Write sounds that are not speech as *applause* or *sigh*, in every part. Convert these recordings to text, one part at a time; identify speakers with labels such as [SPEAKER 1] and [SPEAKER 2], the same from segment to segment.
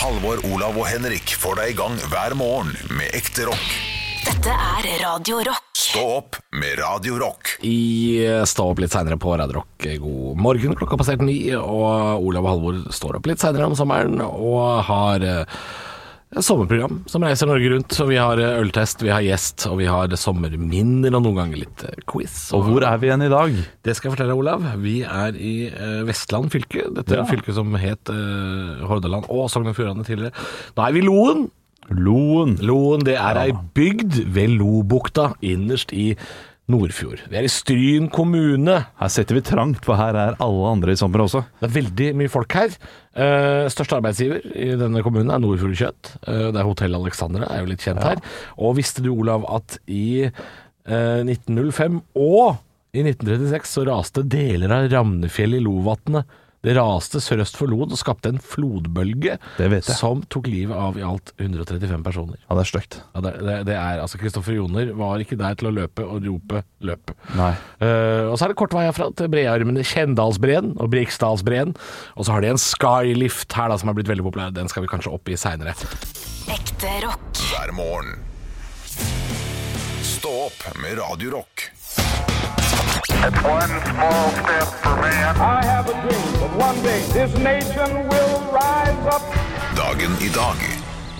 [SPEAKER 1] Halvor, Olav og Henrik får deg i gang hver morgen med ekte rock.
[SPEAKER 2] Dette er Radio Rock.
[SPEAKER 1] Stå opp med Radio Rock.
[SPEAKER 3] I eh, Stå opp litt seinere på Radio Rock. God morgen, klokka har passert ni. Og Olav og Halvor står opp litt seinere om sommeren og har eh, et sommerprogram som reiser Norge rundt. Og vi har eh, øltest, vi har gjest, og vi har sommerminner og noen ganger litt eh, quiz.
[SPEAKER 4] Og hvor er vi igjen i dag?
[SPEAKER 3] Det skal jeg fortelle deg, Olav. Vi er i eh, Vestland fylke. Dette er
[SPEAKER 4] Ja.
[SPEAKER 3] et fylke som het eh, Hordaland og Sogn og Fjordane tidligere. Nå er vi i Loen.
[SPEAKER 4] Loen.
[SPEAKER 3] Loen, det er ei bygd ved Lobukta, innerst i Nordfjord. Vi er i Stryn kommune.
[SPEAKER 4] Her sitter vi trangt, for her er alle andre i sommer også.
[SPEAKER 3] Det er veldig mye folk her. Eh, største arbeidsgiver i denne kommunen er Nordfjord Kjøtt. Eh, det er Hotell Alexandra, er jo litt kjent her. Og visste du, Olav, at i eh, 1905 og i 1936 så raste deler av Ramnefjell i Lovatnet. Det raste sørøst for Loen og skapte en flodbølge
[SPEAKER 4] Det vet jeg.
[SPEAKER 3] som tok livet av i alt 135 personer.
[SPEAKER 4] Ja, det er stygt.
[SPEAKER 3] Ja, det, det, det er, altså Kristoffer Joner var ikke der til å løpe og rope 'løpe'.
[SPEAKER 4] Nei.
[SPEAKER 3] Eh, og så er det kort vei herfra til brearmene Kjendalsbreen og Briksdalsbreen. Og så har de en skylift her da som er blitt veldig populær. Den skal vi kanskje opp i seinere.
[SPEAKER 2] Ekte rock.
[SPEAKER 1] Hver morgen. Stå opp med Radio Rock.
[SPEAKER 5] It's one small step for man.
[SPEAKER 6] I have a dream that one day this nation will rise up.
[SPEAKER 1] Dagen i dag.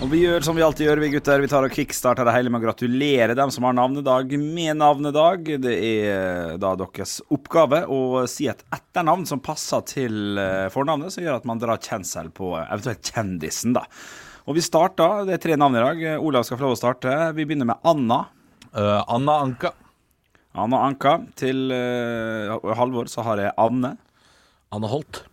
[SPEAKER 7] Og vi gjør som vi alltid gjør, vi gutter. Vi tar og kickstarter det hele med å gratulere dem som har navnedag med navnedag. Det er eh, da deres oppgave å si et etternavn som passer til eh, fornavnet, som gjør at man drar kjensel på eh, eventuelt kjendisen, da. Og vi starter, det er tre navn i dag. Olav skal få lov å starte. Vi begynner med Anna.
[SPEAKER 4] Eh, Anna Anka.
[SPEAKER 7] Anna Anka. Til eh, Halvor så har jeg Anne.
[SPEAKER 3] Anne Holt.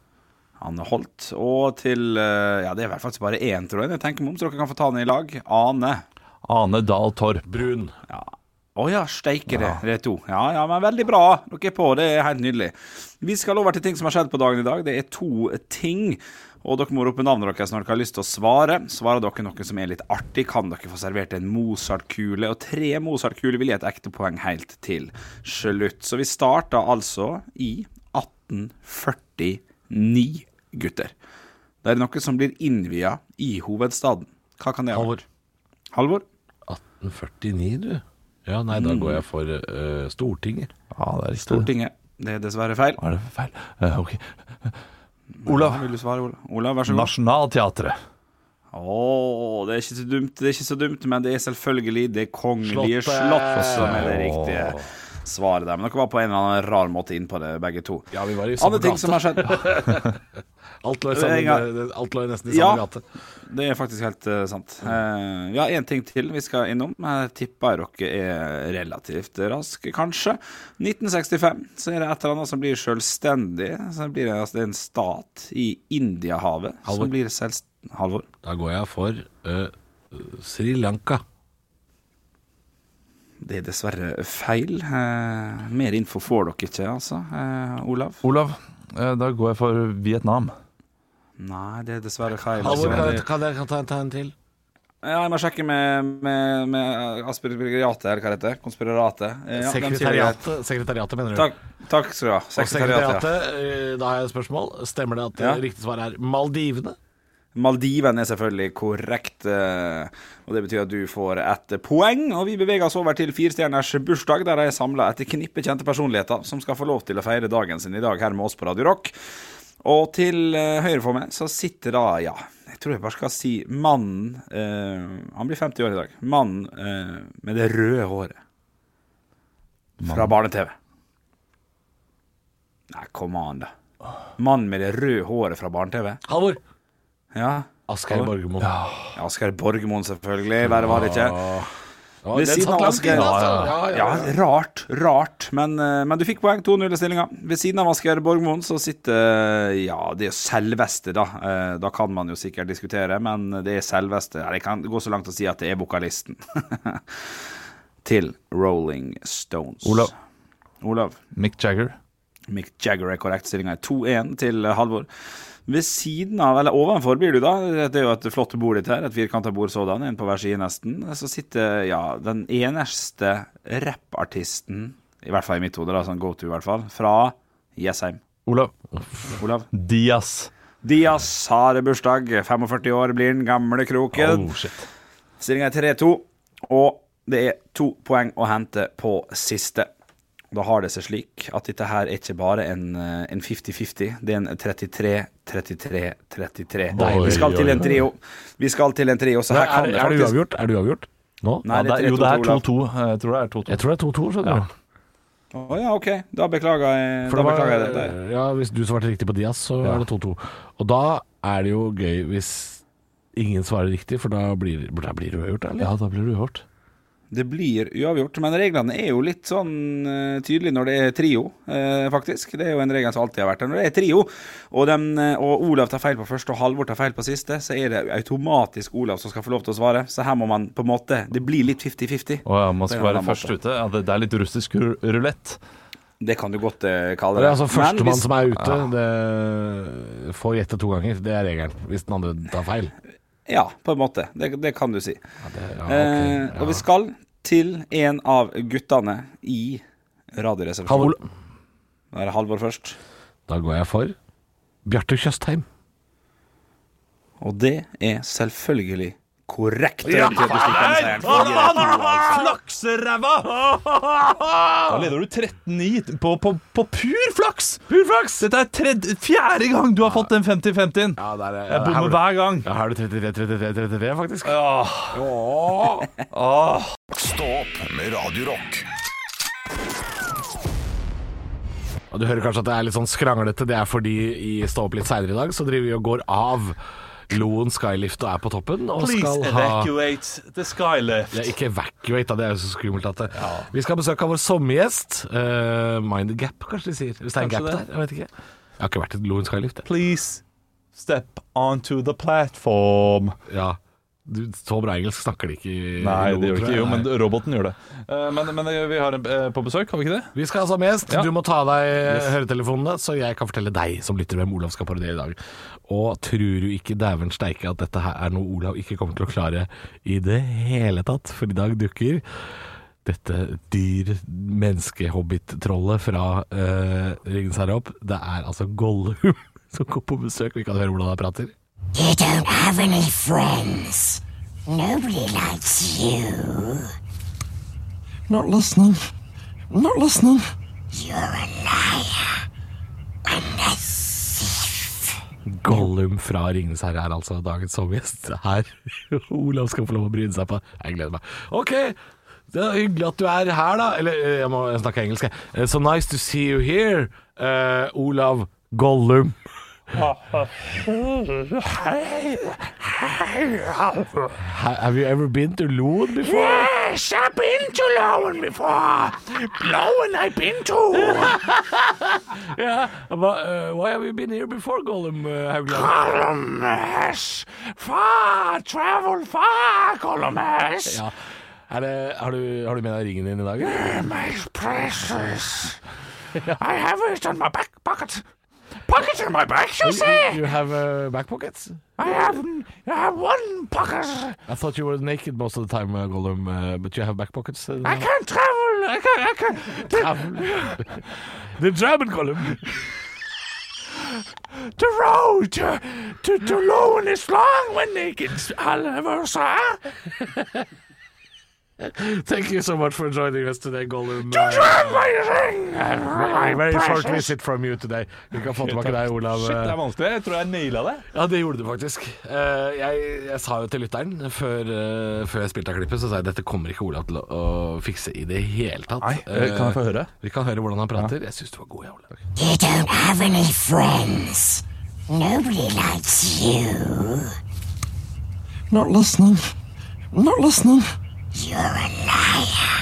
[SPEAKER 7] Anne Holt. Og til eh, Ja, det er vel faktisk bare én, tror jeg. Jeg tenker meg om, så dere kan få ta den i lag. Ane.
[SPEAKER 4] Ane Dahl Torp.
[SPEAKER 3] Brun.
[SPEAKER 7] Å ja, steike det. Det er to. Ja, ja, men veldig bra. Dere er på. Det er helt nydelig. Vi skal over til ting som har skjedd på dagen i dag. Det er to ting. Og dere må rope navnet deres når dere har lyst til å svare. Svarer dere noe som er litt artig, kan dere få servert en Mozart-kule. Og tre Mozart-kuler vil gi et ekte poeng helt til slutt. Så vi starta altså i 1849, gutter. Det er noe som blir innvia i hovedstaden. Hva kan det være?
[SPEAKER 3] Halvor.
[SPEAKER 7] Halvor?
[SPEAKER 3] 1849, du. Ja, nei, da går jeg for eh,
[SPEAKER 7] *laughs*
[SPEAKER 3] Stortinget.
[SPEAKER 4] Ja, det er riktig.
[SPEAKER 7] Stortinget. Det er dessverre feil.
[SPEAKER 4] Hva er det for feil? Eh, ok. Olav.
[SPEAKER 7] Vil du svare, Olav? Olav, vær så god.
[SPEAKER 4] Nationalteatret.
[SPEAKER 7] Åh, det er ikke så dumt, det er ikke så dumt, men det er selvfølgelig det kongelige
[SPEAKER 3] Slottet.
[SPEAKER 7] slott som er det riktige svaret der. Men dere var på en eller annen rar måte inn på det, begge to.
[SPEAKER 3] Ja, vi var i samme
[SPEAKER 7] Andre ting
[SPEAKER 3] gate.
[SPEAKER 7] som har skjedd
[SPEAKER 3] Alt lå i
[SPEAKER 7] Det er en
[SPEAKER 3] samme- alt lå i nesten i
[SPEAKER 7] Ja.
[SPEAKER 3] samme gate.
[SPEAKER 7] Det er faktisk helt eh, sant. Eh, ja, én ting til vi skal innom. Jeg tipper dere er relativt raske, kanskje. 1965 så er det et eller annet som blir selvstendig. Så det blir altså, det er en stat i Indiahavet
[SPEAKER 3] Halvor.
[SPEAKER 7] som blir selvst... Halvor?
[SPEAKER 3] Da går jeg for eh, Sri Lanka.
[SPEAKER 7] Det er dessverre feil. Eh, mer info får dere ikke, altså. Eh, Olav?
[SPEAKER 4] Olav. eh, Da går jeg for Vietnam.
[SPEAKER 7] Nei, det er dessverre feil.
[SPEAKER 3] Halvor,
[SPEAKER 7] altså.
[SPEAKER 3] kan jeg,
[SPEAKER 7] Det-
[SPEAKER 3] kan jeg kan jeg ta en tegn til?
[SPEAKER 7] Ja, jeg må sjekke med, med, med Aspirgriatet, eller hva det heter. Konspireratet. Eh, ja, hvem sier det?
[SPEAKER 3] Sekretariatet, sekretariatet mener du?
[SPEAKER 7] Takk, takk skal du ha.
[SPEAKER 3] Og
[SPEAKER 7] Sekretariatet. ja.
[SPEAKER 3] sekretariatet, eh, da har jeg et spørsmål. Stemmer det at
[SPEAKER 7] Ja.
[SPEAKER 3] eh, riktig svar er Maldivene?
[SPEAKER 7] Maldiven er selvfølgelig korrekt. eh, Og det betyr at du får et poeng. Og vi beveger oss over til firestjerners bursdag, der jeg samla et knippe kjente personligheter som skal få lov til å feire dagen sin i dag her med oss på Radio Rock. Og til eh, høyre for meg så sitter da, ja, jeg tror jeg bare skal si mannen eh, Han blir 50 år i dag. Mannen eh, med det røde håret. Fra barne-TV. Nei, kom an, da. Mannen med det røde håret fra barne-TV.
[SPEAKER 3] Halvor!
[SPEAKER 7] Ja.
[SPEAKER 3] Asgeir Borgermoen.
[SPEAKER 7] Asgeir Borgermoen, selvfølgelig. Verre var det ikke. Ved
[SPEAKER 3] den
[SPEAKER 7] siden
[SPEAKER 3] satt
[SPEAKER 7] av
[SPEAKER 3] langt
[SPEAKER 7] Asgeir
[SPEAKER 3] inne,
[SPEAKER 7] ja,
[SPEAKER 3] altså. Ja, ja,
[SPEAKER 7] Rart, rart. Men, eh, men du fikk poeng. 2-0 i stillinga. Ved siden av Asgeir Borgermoen så sitter eh, Ja, det er selveste, da. Eh, Da kan man jo sikkert diskutere, men det er selveste Eller jeg kan gå så langt å si at det er vokalisten. *laughs* Til Rolling Stones.
[SPEAKER 4] Olav.
[SPEAKER 7] Olav.
[SPEAKER 4] Mick Jagger.
[SPEAKER 7] Mick Jagger er korrekt. Stillinga er 2-1 til eh, Halvor. Ved siden av, eller ovenfor blir du da, det er jo et flott bord ditt her, et firkanta bord sådan, en på hver side nesten, så sitter ja, den eneste rappartisten, i hvert fall i mitt hode, da, sånn go to i hvert fall, fra Jessheim.
[SPEAKER 4] Olav.
[SPEAKER 7] Olav?
[SPEAKER 4] Diaz.
[SPEAKER 7] Diaz har bursdag. 45 år blir han, gamle kroken.
[SPEAKER 3] Oh, shit.
[SPEAKER 7] Stillinga er 3-2, og det er to poeng å hente på siste. Da har det seg slik at dette her er ikke bare en eh, en 50-50, det er en 33-33-33.
[SPEAKER 3] Oi,
[SPEAKER 7] Vi skal til
[SPEAKER 3] oi,
[SPEAKER 7] en trio. Vi skal til en trio, så her
[SPEAKER 3] Er,
[SPEAKER 7] kan det
[SPEAKER 3] er det
[SPEAKER 7] faktisk
[SPEAKER 3] uavgjort? Er det uavgjort nå?
[SPEAKER 7] Nei, det
[SPEAKER 4] det er,
[SPEAKER 7] er
[SPEAKER 4] jo, det er
[SPEAKER 7] 3-2,
[SPEAKER 4] 2-2. Jeg tror det er 2-2.
[SPEAKER 3] Jeg tror det er 2-2, skjønner du.
[SPEAKER 7] Å ja, OK. Da beklager jeg,
[SPEAKER 3] For
[SPEAKER 7] da
[SPEAKER 3] det var,
[SPEAKER 7] beklager jeg dette. her.
[SPEAKER 3] ja, hvis du svarte riktig på Diaz, så er det 2-2. Og da er det jo gøy hvis ingen svarer riktig, for da blir, da blir det uavgjort, eller?
[SPEAKER 4] Ja, da blir det uavgjort.
[SPEAKER 7] Det blir uavgjort, men reglene er jo litt sånn eh, tydelige når det er trio, eh, faktisk. Det er jo en regel som alltid har vært der. Når det er trio, og, dem, eh, og Olav tar feil på første og Halvor tar feil på siste, så er det automatisk Olav som skal få lov til å svare. Så her må man på en måte Det blir litt 50-50.
[SPEAKER 4] Å ja, man
[SPEAKER 7] På en
[SPEAKER 4] skal
[SPEAKER 7] eller
[SPEAKER 4] være
[SPEAKER 7] annen
[SPEAKER 4] først
[SPEAKER 7] måte.
[SPEAKER 4] ute. Ja, det, det er litt russisk ru- rulett.
[SPEAKER 7] Det kan du godt eh,
[SPEAKER 3] Det
[SPEAKER 7] kalle
[SPEAKER 3] er
[SPEAKER 7] det.
[SPEAKER 3] altså
[SPEAKER 7] Men
[SPEAKER 3] Førstemann
[SPEAKER 7] hvis-
[SPEAKER 3] som er ute, det får gjette to ganger. Det er regelen. Hvis den andre tar feil.
[SPEAKER 7] Ja, på en måte. Det, det kan du si.
[SPEAKER 3] Ja, det, ja,
[SPEAKER 7] Eh,
[SPEAKER 3] ok,
[SPEAKER 7] Og vi
[SPEAKER 3] ja.
[SPEAKER 7] skal til en av guttene i Radioresepsjonen.
[SPEAKER 3] Halvor.
[SPEAKER 7] Da er det Halvor først.
[SPEAKER 3] Da går jeg for Bjarte Tjøstheim.
[SPEAKER 7] Og det er selvfølgelig korrekt. Det betyr at du slipper den seieren.
[SPEAKER 4] Flakseræva! Da leder du 13-9 på, på, på pur flaks! Pur flaks! Dette er tredje, fjerde gang du har fått den 50-50-en.
[SPEAKER 3] Ja, der er-
[SPEAKER 4] Jeg bommer
[SPEAKER 3] her,
[SPEAKER 4] hver gang.
[SPEAKER 3] ja, her er det 33, 33, 33, faktisk.
[SPEAKER 1] Stå opp med Radio Rock.
[SPEAKER 3] Og Du hører kanskje at det er litt sånn skranglete. Det er fordi i Stå opp litt seinere i dag, så driver vi og går av Loen skylift og er på toppen. Og skal ha
[SPEAKER 4] the skylift.
[SPEAKER 3] ja, ikke evacuate, da. Det er jo så skummelt at det Vi skal besøke vår sommergjest. eh, mind the gap, kanskje de sier. Hvis det er en gap
[SPEAKER 4] Kanskje det.
[SPEAKER 3] der. Jeg vet ikke. Jeg har ikke vært i Loen skylift. jeg.
[SPEAKER 4] Please step onto the platform.
[SPEAKER 3] Ja. Du, så bra engelsk snakker de ikke i i
[SPEAKER 4] Nei,
[SPEAKER 3] Loen,
[SPEAKER 4] det gjør
[SPEAKER 3] tror
[SPEAKER 4] ikke
[SPEAKER 3] jeg.
[SPEAKER 4] jo, men
[SPEAKER 3] Nei.
[SPEAKER 4] roboten gjør det. Eh, Men, men eh, vi har en eh, på besøk, har vi ikke det?
[SPEAKER 3] Vi skal ha som gjest.
[SPEAKER 4] Ja.
[SPEAKER 3] Du må ta av deg eh, høretelefonene, så jeg kan fortelle deg som lytter hvem Olav skal parodiere i dag. Og tror du ikke dæven steike at dette her er noe Olav ikke kommer til å klare i det hele tatt? For i dag dukker dette dyr-menneske-hobbit-trollet fra uh, Ringens herre opp. Det er altså Gollum *laughs* som går på besøk. Vi kan høre hvordan han prater.
[SPEAKER 8] You don't have any friends. Nobody likes you. Not listening. Not listening. You're a liar. And a
[SPEAKER 3] Gollum fra Ringenes herre er altså dagens sommergjest her. *laughs* Olav skal få lov å bryne seg på. Jeg gleder meg. Ok, det er hyggelig at du er her, da. Eller eh, jeg må snakke engelsk, jeg. Eh, So nice to see you here, eh, Olav Gollum. Ha- Have you ever been to Loen before? Yes, I've been to Loen before. Loen I've been to. Yeah, but uh, why have you been here before, Gollum? Uh, Haugland? Gollum has far traveled far, Gollum has. Ja. Er det, har, du, har du med deg ringen din i dag? My *laughs* precious. I have it on my back pocket. Pocket in my back, you see. You have uh, back pockets? I have, I have one pocket. I thought you were naked most of the time, uh, Gollum, uh, but you have back pockets? Uh, I can't travel. I can't. I can't. Travel. the German Gollum. The road to, to, to Lowen is long when they get Thank you so much for joining us today, Gollum. Do you have my ring? very short visit from you today. Vi kan få tilbake deg, Olav. Uh,
[SPEAKER 4] Shit, det er vanskelig. Jeg tror jeg naila det.
[SPEAKER 3] Ja, det gjorde du faktisk. Eh, jeg, jeg sa jo til lytteren før, eh, før jeg spilte av klippet, så sa jeg dette kommer ikke Olav til å, å fikse i det hele tatt.
[SPEAKER 4] Nei, eh, kan jeg få høre?
[SPEAKER 3] Eh, Vi kan høre hvordan han prater. Jeg syns du var god, jeg, Olav.
[SPEAKER 8] You don't have any friends. Nobody likes you. Not listening. Not listening. You're a liar.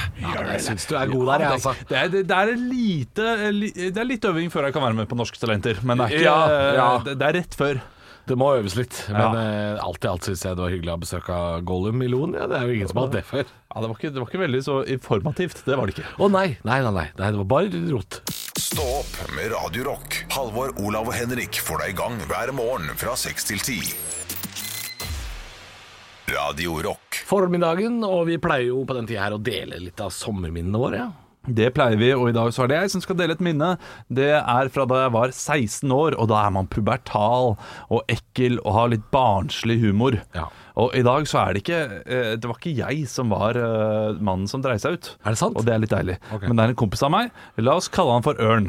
[SPEAKER 3] Jeg syns du er god der, jeg, altså.
[SPEAKER 4] Det er, det er lite eh, li- Det er litt øving før jeg kan være med på Norske Talenter, men det er, ikke, eh,
[SPEAKER 3] Ja, ja.
[SPEAKER 4] Det, det er rett før.
[SPEAKER 3] Det må øves litt, men eh, alt i alt syns jeg det var hyggelig å ha besøk av Gollum i Loen. Ja, det er jo ingen som har hatt det før.
[SPEAKER 4] Ja, det var, ikke, det var ikke veldig så informativt. Det var det ikke.
[SPEAKER 3] Å nei, nei, nei, nei, nei, det var bare rot.
[SPEAKER 1] Stå opp med Radio Rock. Halvor, Olav og Henrik får deg i gang hver morgen fra 6 til 10. Radio Rock.
[SPEAKER 3] Formiddagen, og vi pleier jo på den tida her å dele litt av sommerminnene våre. Ja.
[SPEAKER 4] Det pleier vi, og i dag så er det jeg som skal dele et minne. Det er fra da jeg var 16 år, og da er man pubertal og ekkel og har litt barnslig humor.
[SPEAKER 3] Ja.
[SPEAKER 4] Og i dag så er det ikke eh, Det var ikke jeg som var eh, mannen som dreide seg ut.
[SPEAKER 3] Er det sant?
[SPEAKER 4] Og det er litt deilig.
[SPEAKER 3] Ok.
[SPEAKER 4] Men det er en kompis av meg. La oss kalle han for Ørn.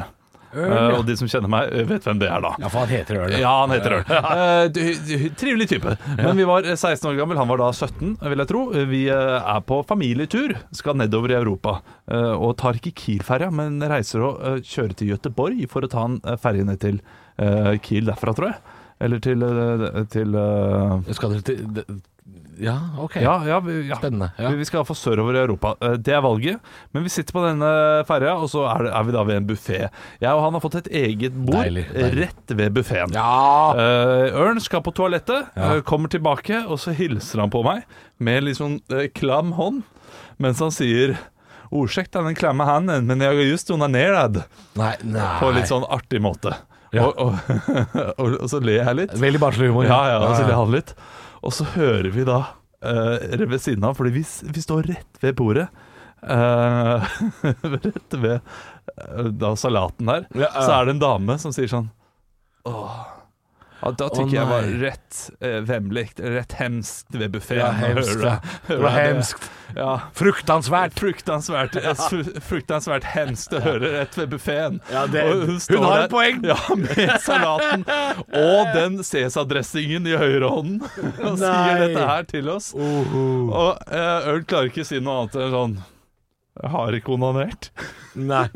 [SPEAKER 4] Eh, og de som kjenner meg, eh, vet hvem det er da.
[SPEAKER 3] Ja, for han heter Ørn.
[SPEAKER 4] *laughs* Ja, han heter Ørn. Eh, du- du- Trivelig type. Men vi var 16 år gammel, han var da 17, vil jeg tro. Vi eh, er på familietur, skal nedover i Europa. eh, Og tar ikke Kiel-ferja, men reiser og eh, kjører til Gøteborg for å ta en eh, ferje ned til eh, Kiel derfra, tror jeg. Eller til, eh, til eh,
[SPEAKER 3] Skal dere til det- Ja, OK.
[SPEAKER 4] ja, ja, vi, ja.
[SPEAKER 3] Spennende, ja.
[SPEAKER 4] Vi- Vi skal iallfall sørover i Europa. Eh, Det er valget. Men vi sitter på denne ferja, og så er, det, er vi da ved en buffé. Jeg og han har fått et eget bord
[SPEAKER 3] Deilig, deilig.
[SPEAKER 4] rett ved buffeen. *laughs*
[SPEAKER 3] Ja.
[SPEAKER 4] Eh, Ørn skal på toalettet, eh, kommer tilbake, og så hilser han på meg med litt sånn eh, klam hånd, mens han sier Ursäkta den klamma handen, men jeg har just onanerad.
[SPEAKER 3] Nei, nei.
[SPEAKER 4] På litt sånn artig måte.
[SPEAKER 3] Ja.
[SPEAKER 4] Og, og, og, *laughs* og så ler jeg litt.
[SPEAKER 3] Veldig barnslig humor.
[SPEAKER 4] Ja, ja, og så ler han litt. Og så hører vi da eh, rett ved siden av, fordi vi, s- vi står rett ved bordet. eh, *laughs* rett ved eh, da salaten der.
[SPEAKER 3] Ja, ja.
[SPEAKER 4] Så er det en dame som sier sånn Åh. Ja, da tykker jeg var
[SPEAKER 3] nei.
[SPEAKER 4] rett eh, vemlikt, rett hemskt ved buffeen.
[SPEAKER 3] Ja, hemskt, ja. Det var hemskt.
[SPEAKER 4] Ja.
[SPEAKER 3] Fruktansvært.
[SPEAKER 4] Fruktansvært, eh, fru- fruktansvært hemskt å høre rett ved buffeen.
[SPEAKER 3] Ja, det- hun
[SPEAKER 4] står
[SPEAKER 3] har et
[SPEAKER 4] der- Ja, med salaten *laughs* og den Cæsar-dressingen i høyrehånden. Og
[SPEAKER 3] Nei.
[SPEAKER 4] sier dette her til oss. Og eh, Ørn klarer ikke å si noe annet enn sånn Jeg har ikke onanert.
[SPEAKER 3] Nei.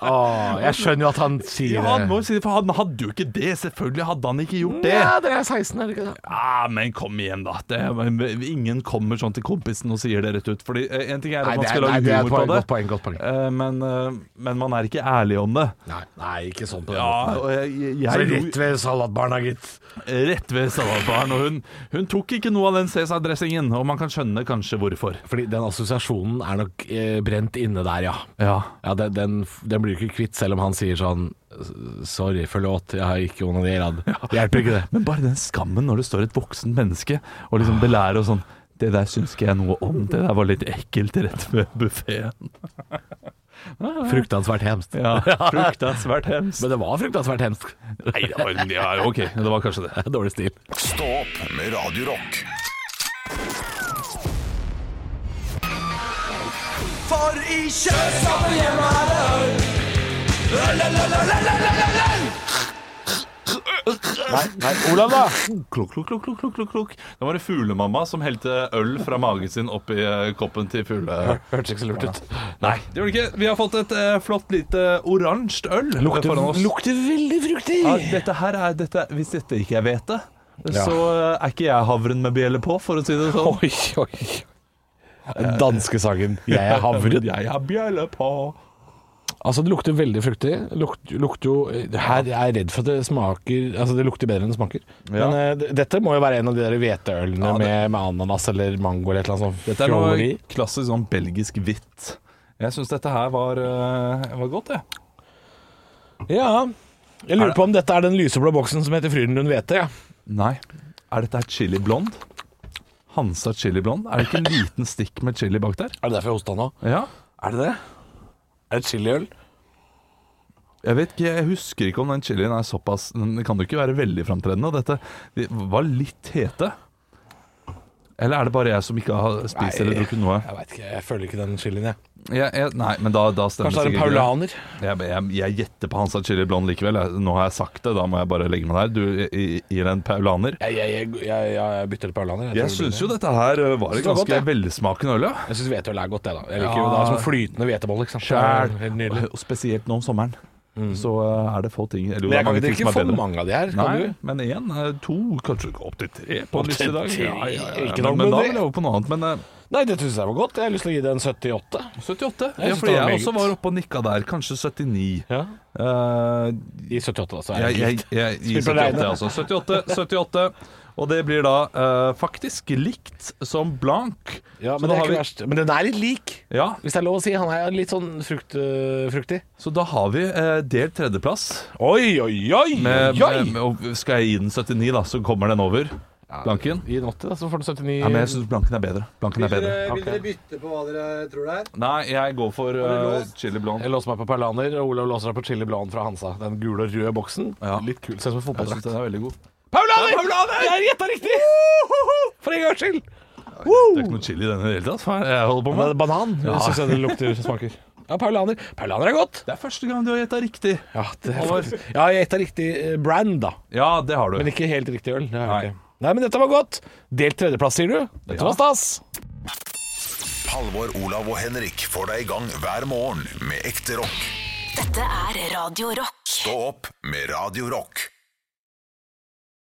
[SPEAKER 3] Åh, jeg skjønner jo at han sier
[SPEAKER 4] Ja, han må jo si det, for han hadde jo ikke det. Selvfølgelig hadde han ikke gjort det.
[SPEAKER 3] Ja, dere er 16, er dere ikke det?
[SPEAKER 4] Ja, Ah, men kom igjen, da. Det, men ingen kommer sånn til kompisen og sier det rett ut. Fordi eh, en ting er at
[SPEAKER 3] Nei,
[SPEAKER 4] man
[SPEAKER 3] det er,
[SPEAKER 4] skal
[SPEAKER 3] nei, det er
[SPEAKER 4] lage
[SPEAKER 3] et
[SPEAKER 4] humor
[SPEAKER 3] poeng,
[SPEAKER 4] på det.
[SPEAKER 3] godt poeng. Godt poeng.
[SPEAKER 4] Eh, men, eh, men man er ikke ærlig om det.
[SPEAKER 3] Nei, nei, ikke sånn på den
[SPEAKER 4] Ja,
[SPEAKER 3] måten.
[SPEAKER 4] og jeg, jeg,
[SPEAKER 3] Så
[SPEAKER 4] jeg
[SPEAKER 3] rett ved salatbarna, gitt.
[SPEAKER 4] rett ved salatbaren, og hun, hun tok ikke noe av den Cæsar-dressingen, og man kan skjønne kanskje hvorfor.
[SPEAKER 3] Fordi den assosiasjonen er nok eh, brent inne der, ja.
[SPEAKER 4] Ja.
[SPEAKER 3] Ja, den, den, den blir jo ikke kvitt selv om han sier sånn Sorry, forlåt, jeg har ikke onanert. Det hjelper ikke, det.
[SPEAKER 4] Men bare den skammen når det står et voksen menneske og liksom belærer og sånn Det der syns ikke jeg noe om, det der var litt ekkelt rett ved buffeen.
[SPEAKER 3] Fruktansvært hemskt.
[SPEAKER 4] Ja, *laughs* frukta svært hemskt.
[SPEAKER 3] Men det var fruktansvært hemskt.
[SPEAKER 4] Nei, det var, ja, ok, det var kanskje det.
[SPEAKER 3] Dårlig stil.
[SPEAKER 1] Stå opp med Radio Rock.
[SPEAKER 4] Klok, klok, klok, klok, klok, klok, klok. Det var det fuglemamma som helte øl fra magen sin opp i eh, koppen til fugle...
[SPEAKER 3] Hørtes ikke så lurt ut.
[SPEAKER 4] Nei, det gjorde det ikke. Vi har fått et eh, flott lite oransje øl eh, foran oss.
[SPEAKER 3] lukter veldig fruktig.
[SPEAKER 4] Ja, dette her er, dette, hvis dette ikke er hvete,
[SPEAKER 3] Ja.
[SPEAKER 4] så eh, er ikke jeg havren med bjelle på, for å si det sånn.
[SPEAKER 3] Oi, oi. Den danske sangen Eh, 'Jeg er havren'.
[SPEAKER 4] Jeg har bjelle på.
[SPEAKER 3] Altså, det lukter veldig fruktig. Lukt, lukter jo Her er jeg redd for at det smaker Altså, det lukter bedre enn det smaker.
[SPEAKER 4] Ja.
[SPEAKER 3] Men eh, d- dette må jo være en av de der hveteølene med, med ananas eller mango eller et eller annet sånt.
[SPEAKER 4] Dette er noe
[SPEAKER 3] fjolleri.
[SPEAKER 4] klassisk sånn belgisk hvitt. Jeg syns dette her var, eh, var godt, jeg.
[SPEAKER 3] Ja. Jeg
[SPEAKER 4] Er
[SPEAKER 3] lurer
[SPEAKER 4] det-
[SPEAKER 3] på om dette er den lyseblå boksen som heter Frydenlund hvete, ja.
[SPEAKER 4] Nei. Er dette her chili blond? Hansa chili blond? Er det ikke en liten stikk med chili bak der?
[SPEAKER 3] Er det derfor jeg hosta nå?
[SPEAKER 4] Ja.
[SPEAKER 3] Er det det? Er det chiliøl?
[SPEAKER 4] Jeg vet ikke, jeg husker ikke om den chilien er såpass Den kan jo ikke være veldig framtredende. og Dette de var litt hete. Eller er det bare jeg som ikke har spist
[SPEAKER 3] Nei.
[SPEAKER 4] eller drukket noe?
[SPEAKER 3] Jeg veit ikke, jeg føler ikke den chilien, jeg.
[SPEAKER 4] Jeg, jeg, nei, men da, da stemmer
[SPEAKER 3] Kanskje det er en
[SPEAKER 4] sikkert ikke
[SPEAKER 3] paulaner?
[SPEAKER 4] det. Jeg, jeg, jeg gjetter på Hansa Chili Blond likevel. Jeg, nå har jeg sagt det, da må jeg bare legge meg der. Du i- gir en paulaner.
[SPEAKER 3] Jeg, jeg, jeg, jeg, jeg bytter til paulaner. tror
[SPEAKER 4] Jeg
[SPEAKER 3] det blir
[SPEAKER 4] syns
[SPEAKER 3] det.
[SPEAKER 4] jo dette her ø, var et
[SPEAKER 3] Det var godt,
[SPEAKER 4] ganske
[SPEAKER 3] det.
[SPEAKER 4] velsmakende øl, ja.
[SPEAKER 3] Jeg syns hveteøl er godt, det, da. Jeg liker
[SPEAKER 4] Ja.
[SPEAKER 3] jo da sånn flytende hvetebolle, ikke sant. Det er helt nydelig. Mm.
[SPEAKER 4] Og spesielt nå om sommeren. Så ø, er det få ting eller,
[SPEAKER 3] Men jeg kan
[SPEAKER 4] mange
[SPEAKER 3] ikke
[SPEAKER 4] ting som
[SPEAKER 3] drikke
[SPEAKER 4] er
[SPEAKER 3] for
[SPEAKER 4] bedre.
[SPEAKER 3] mange av de her. Kan
[SPEAKER 4] Nei,
[SPEAKER 3] du?
[SPEAKER 4] men én, ø, to, kanskje opptil tre på
[SPEAKER 3] Opp
[SPEAKER 4] en lyst i
[SPEAKER 3] til
[SPEAKER 4] dag.
[SPEAKER 3] tre,
[SPEAKER 4] Ja, ja, ja.
[SPEAKER 3] ikke noe
[SPEAKER 4] Men, men da
[SPEAKER 3] med det.
[SPEAKER 4] vil jeg over på noe annet. Men eh, ø,
[SPEAKER 3] Nei, det syns jeg var godt. Jeg har lyst til å gi det en 78.
[SPEAKER 4] 78?
[SPEAKER 3] Jeg
[SPEAKER 4] Ja,
[SPEAKER 3] synes
[SPEAKER 4] fordi
[SPEAKER 3] det var
[SPEAKER 4] jeg
[SPEAKER 3] meget.
[SPEAKER 4] også var oppe og nikka der. Kanskje 79.
[SPEAKER 3] Ja.
[SPEAKER 4] Eh,
[SPEAKER 3] I 78, da, så er
[SPEAKER 4] Jeg,
[SPEAKER 3] det
[SPEAKER 4] jeg,
[SPEAKER 3] gitt.
[SPEAKER 4] jeg gir
[SPEAKER 3] Spill på
[SPEAKER 4] 78,
[SPEAKER 3] regnet.
[SPEAKER 4] altså. 78, 78. Og det blir da eh, faktisk likt som blank.
[SPEAKER 3] Ja,
[SPEAKER 4] så
[SPEAKER 3] men, det
[SPEAKER 4] da
[SPEAKER 3] er
[SPEAKER 4] har
[SPEAKER 3] ikke
[SPEAKER 4] vi-
[SPEAKER 3] verst. men den er litt lik,
[SPEAKER 4] Ja,
[SPEAKER 3] hvis det er lov å si. Han er litt sånn frukt, øh, fruktig.
[SPEAKER 4] så da har vi eh, delt tredjeplass.
[SPEAKER 3] Oi, oi, oi!
[SPEAKER 4] Med, med, med, og skal jeg gi den 79, da, så kommer den over. Blanken?
[SPEAKER 3] Gi den 80, da, så får den 79.
[SPEAKER 4] Ja, men jeg syns blanken er bedre. Blanken
[SPEAKER 9] Vil
[SPEAKER 4] er bedre.
[SPEAKER 9] dere, vil
[SPEAKER 3] Ok.
[SPEAKER 9] dere bytte på hva dere tror det er?
[SPEAKER 4] Nei, jeg går for
[SPEAKER 9] det
[SPEAKER 4] eh,
[SPEAKER 9] låst?
[SPEAKER 4] chili blond.
[SPEAKER 3] Jeg låser meg på Perlaner, og Olav låser seg på Chili Blond fra Hansa. Den gule og røde boksen.
[SPEAKER 4] Ja.
[SPEAKER 3] Litt kul. Ser ut som en
[SPEAKER 4] Jeg syns
[SPEAKER 3] fotballdrakt.
[SPEAKER 4] den er veldig god.
[SPEAKER 3] Paulaner! Jeg gjetta riktig! For en gangs skyld.
[SPEAKER 4] Det er ikke noe chili i den i det hele tatt. faen, Jeg holder på
[SPEAKER 3] Men
[SPEAKER 4] med
[SPEAKER 3] det er banan ja. syns jeg det lukter smaker. Ja, Paulaner. Paulaner er godt.
[SPEAKER 4] Det er første gang du har gjetta riktig.
[SPEAKER 3] Ja, det er faktisk. ja jeg gjetta riktig eh, brand, da.
[SPEAKER 4] Ja, det har du.
[SPEAKER 3] Men ikke helt riktig øl. Det er
[SPEAKER 4] Nei.
[SPEAKER 3] Nei. Nei, men dette var godt. Delt tredjeplass, sier du? Dette var
[SPEAKER 4] Ja.
[SPEAKER 3] stas.
[SPEAKER 1] Halvor, Olav og Henrik får deg i gang hver morgen med ekte rock.
[SPEAKER 2] Dette er Radio Rock.
[SPEAKER 1] Stå opp med Radio Rock.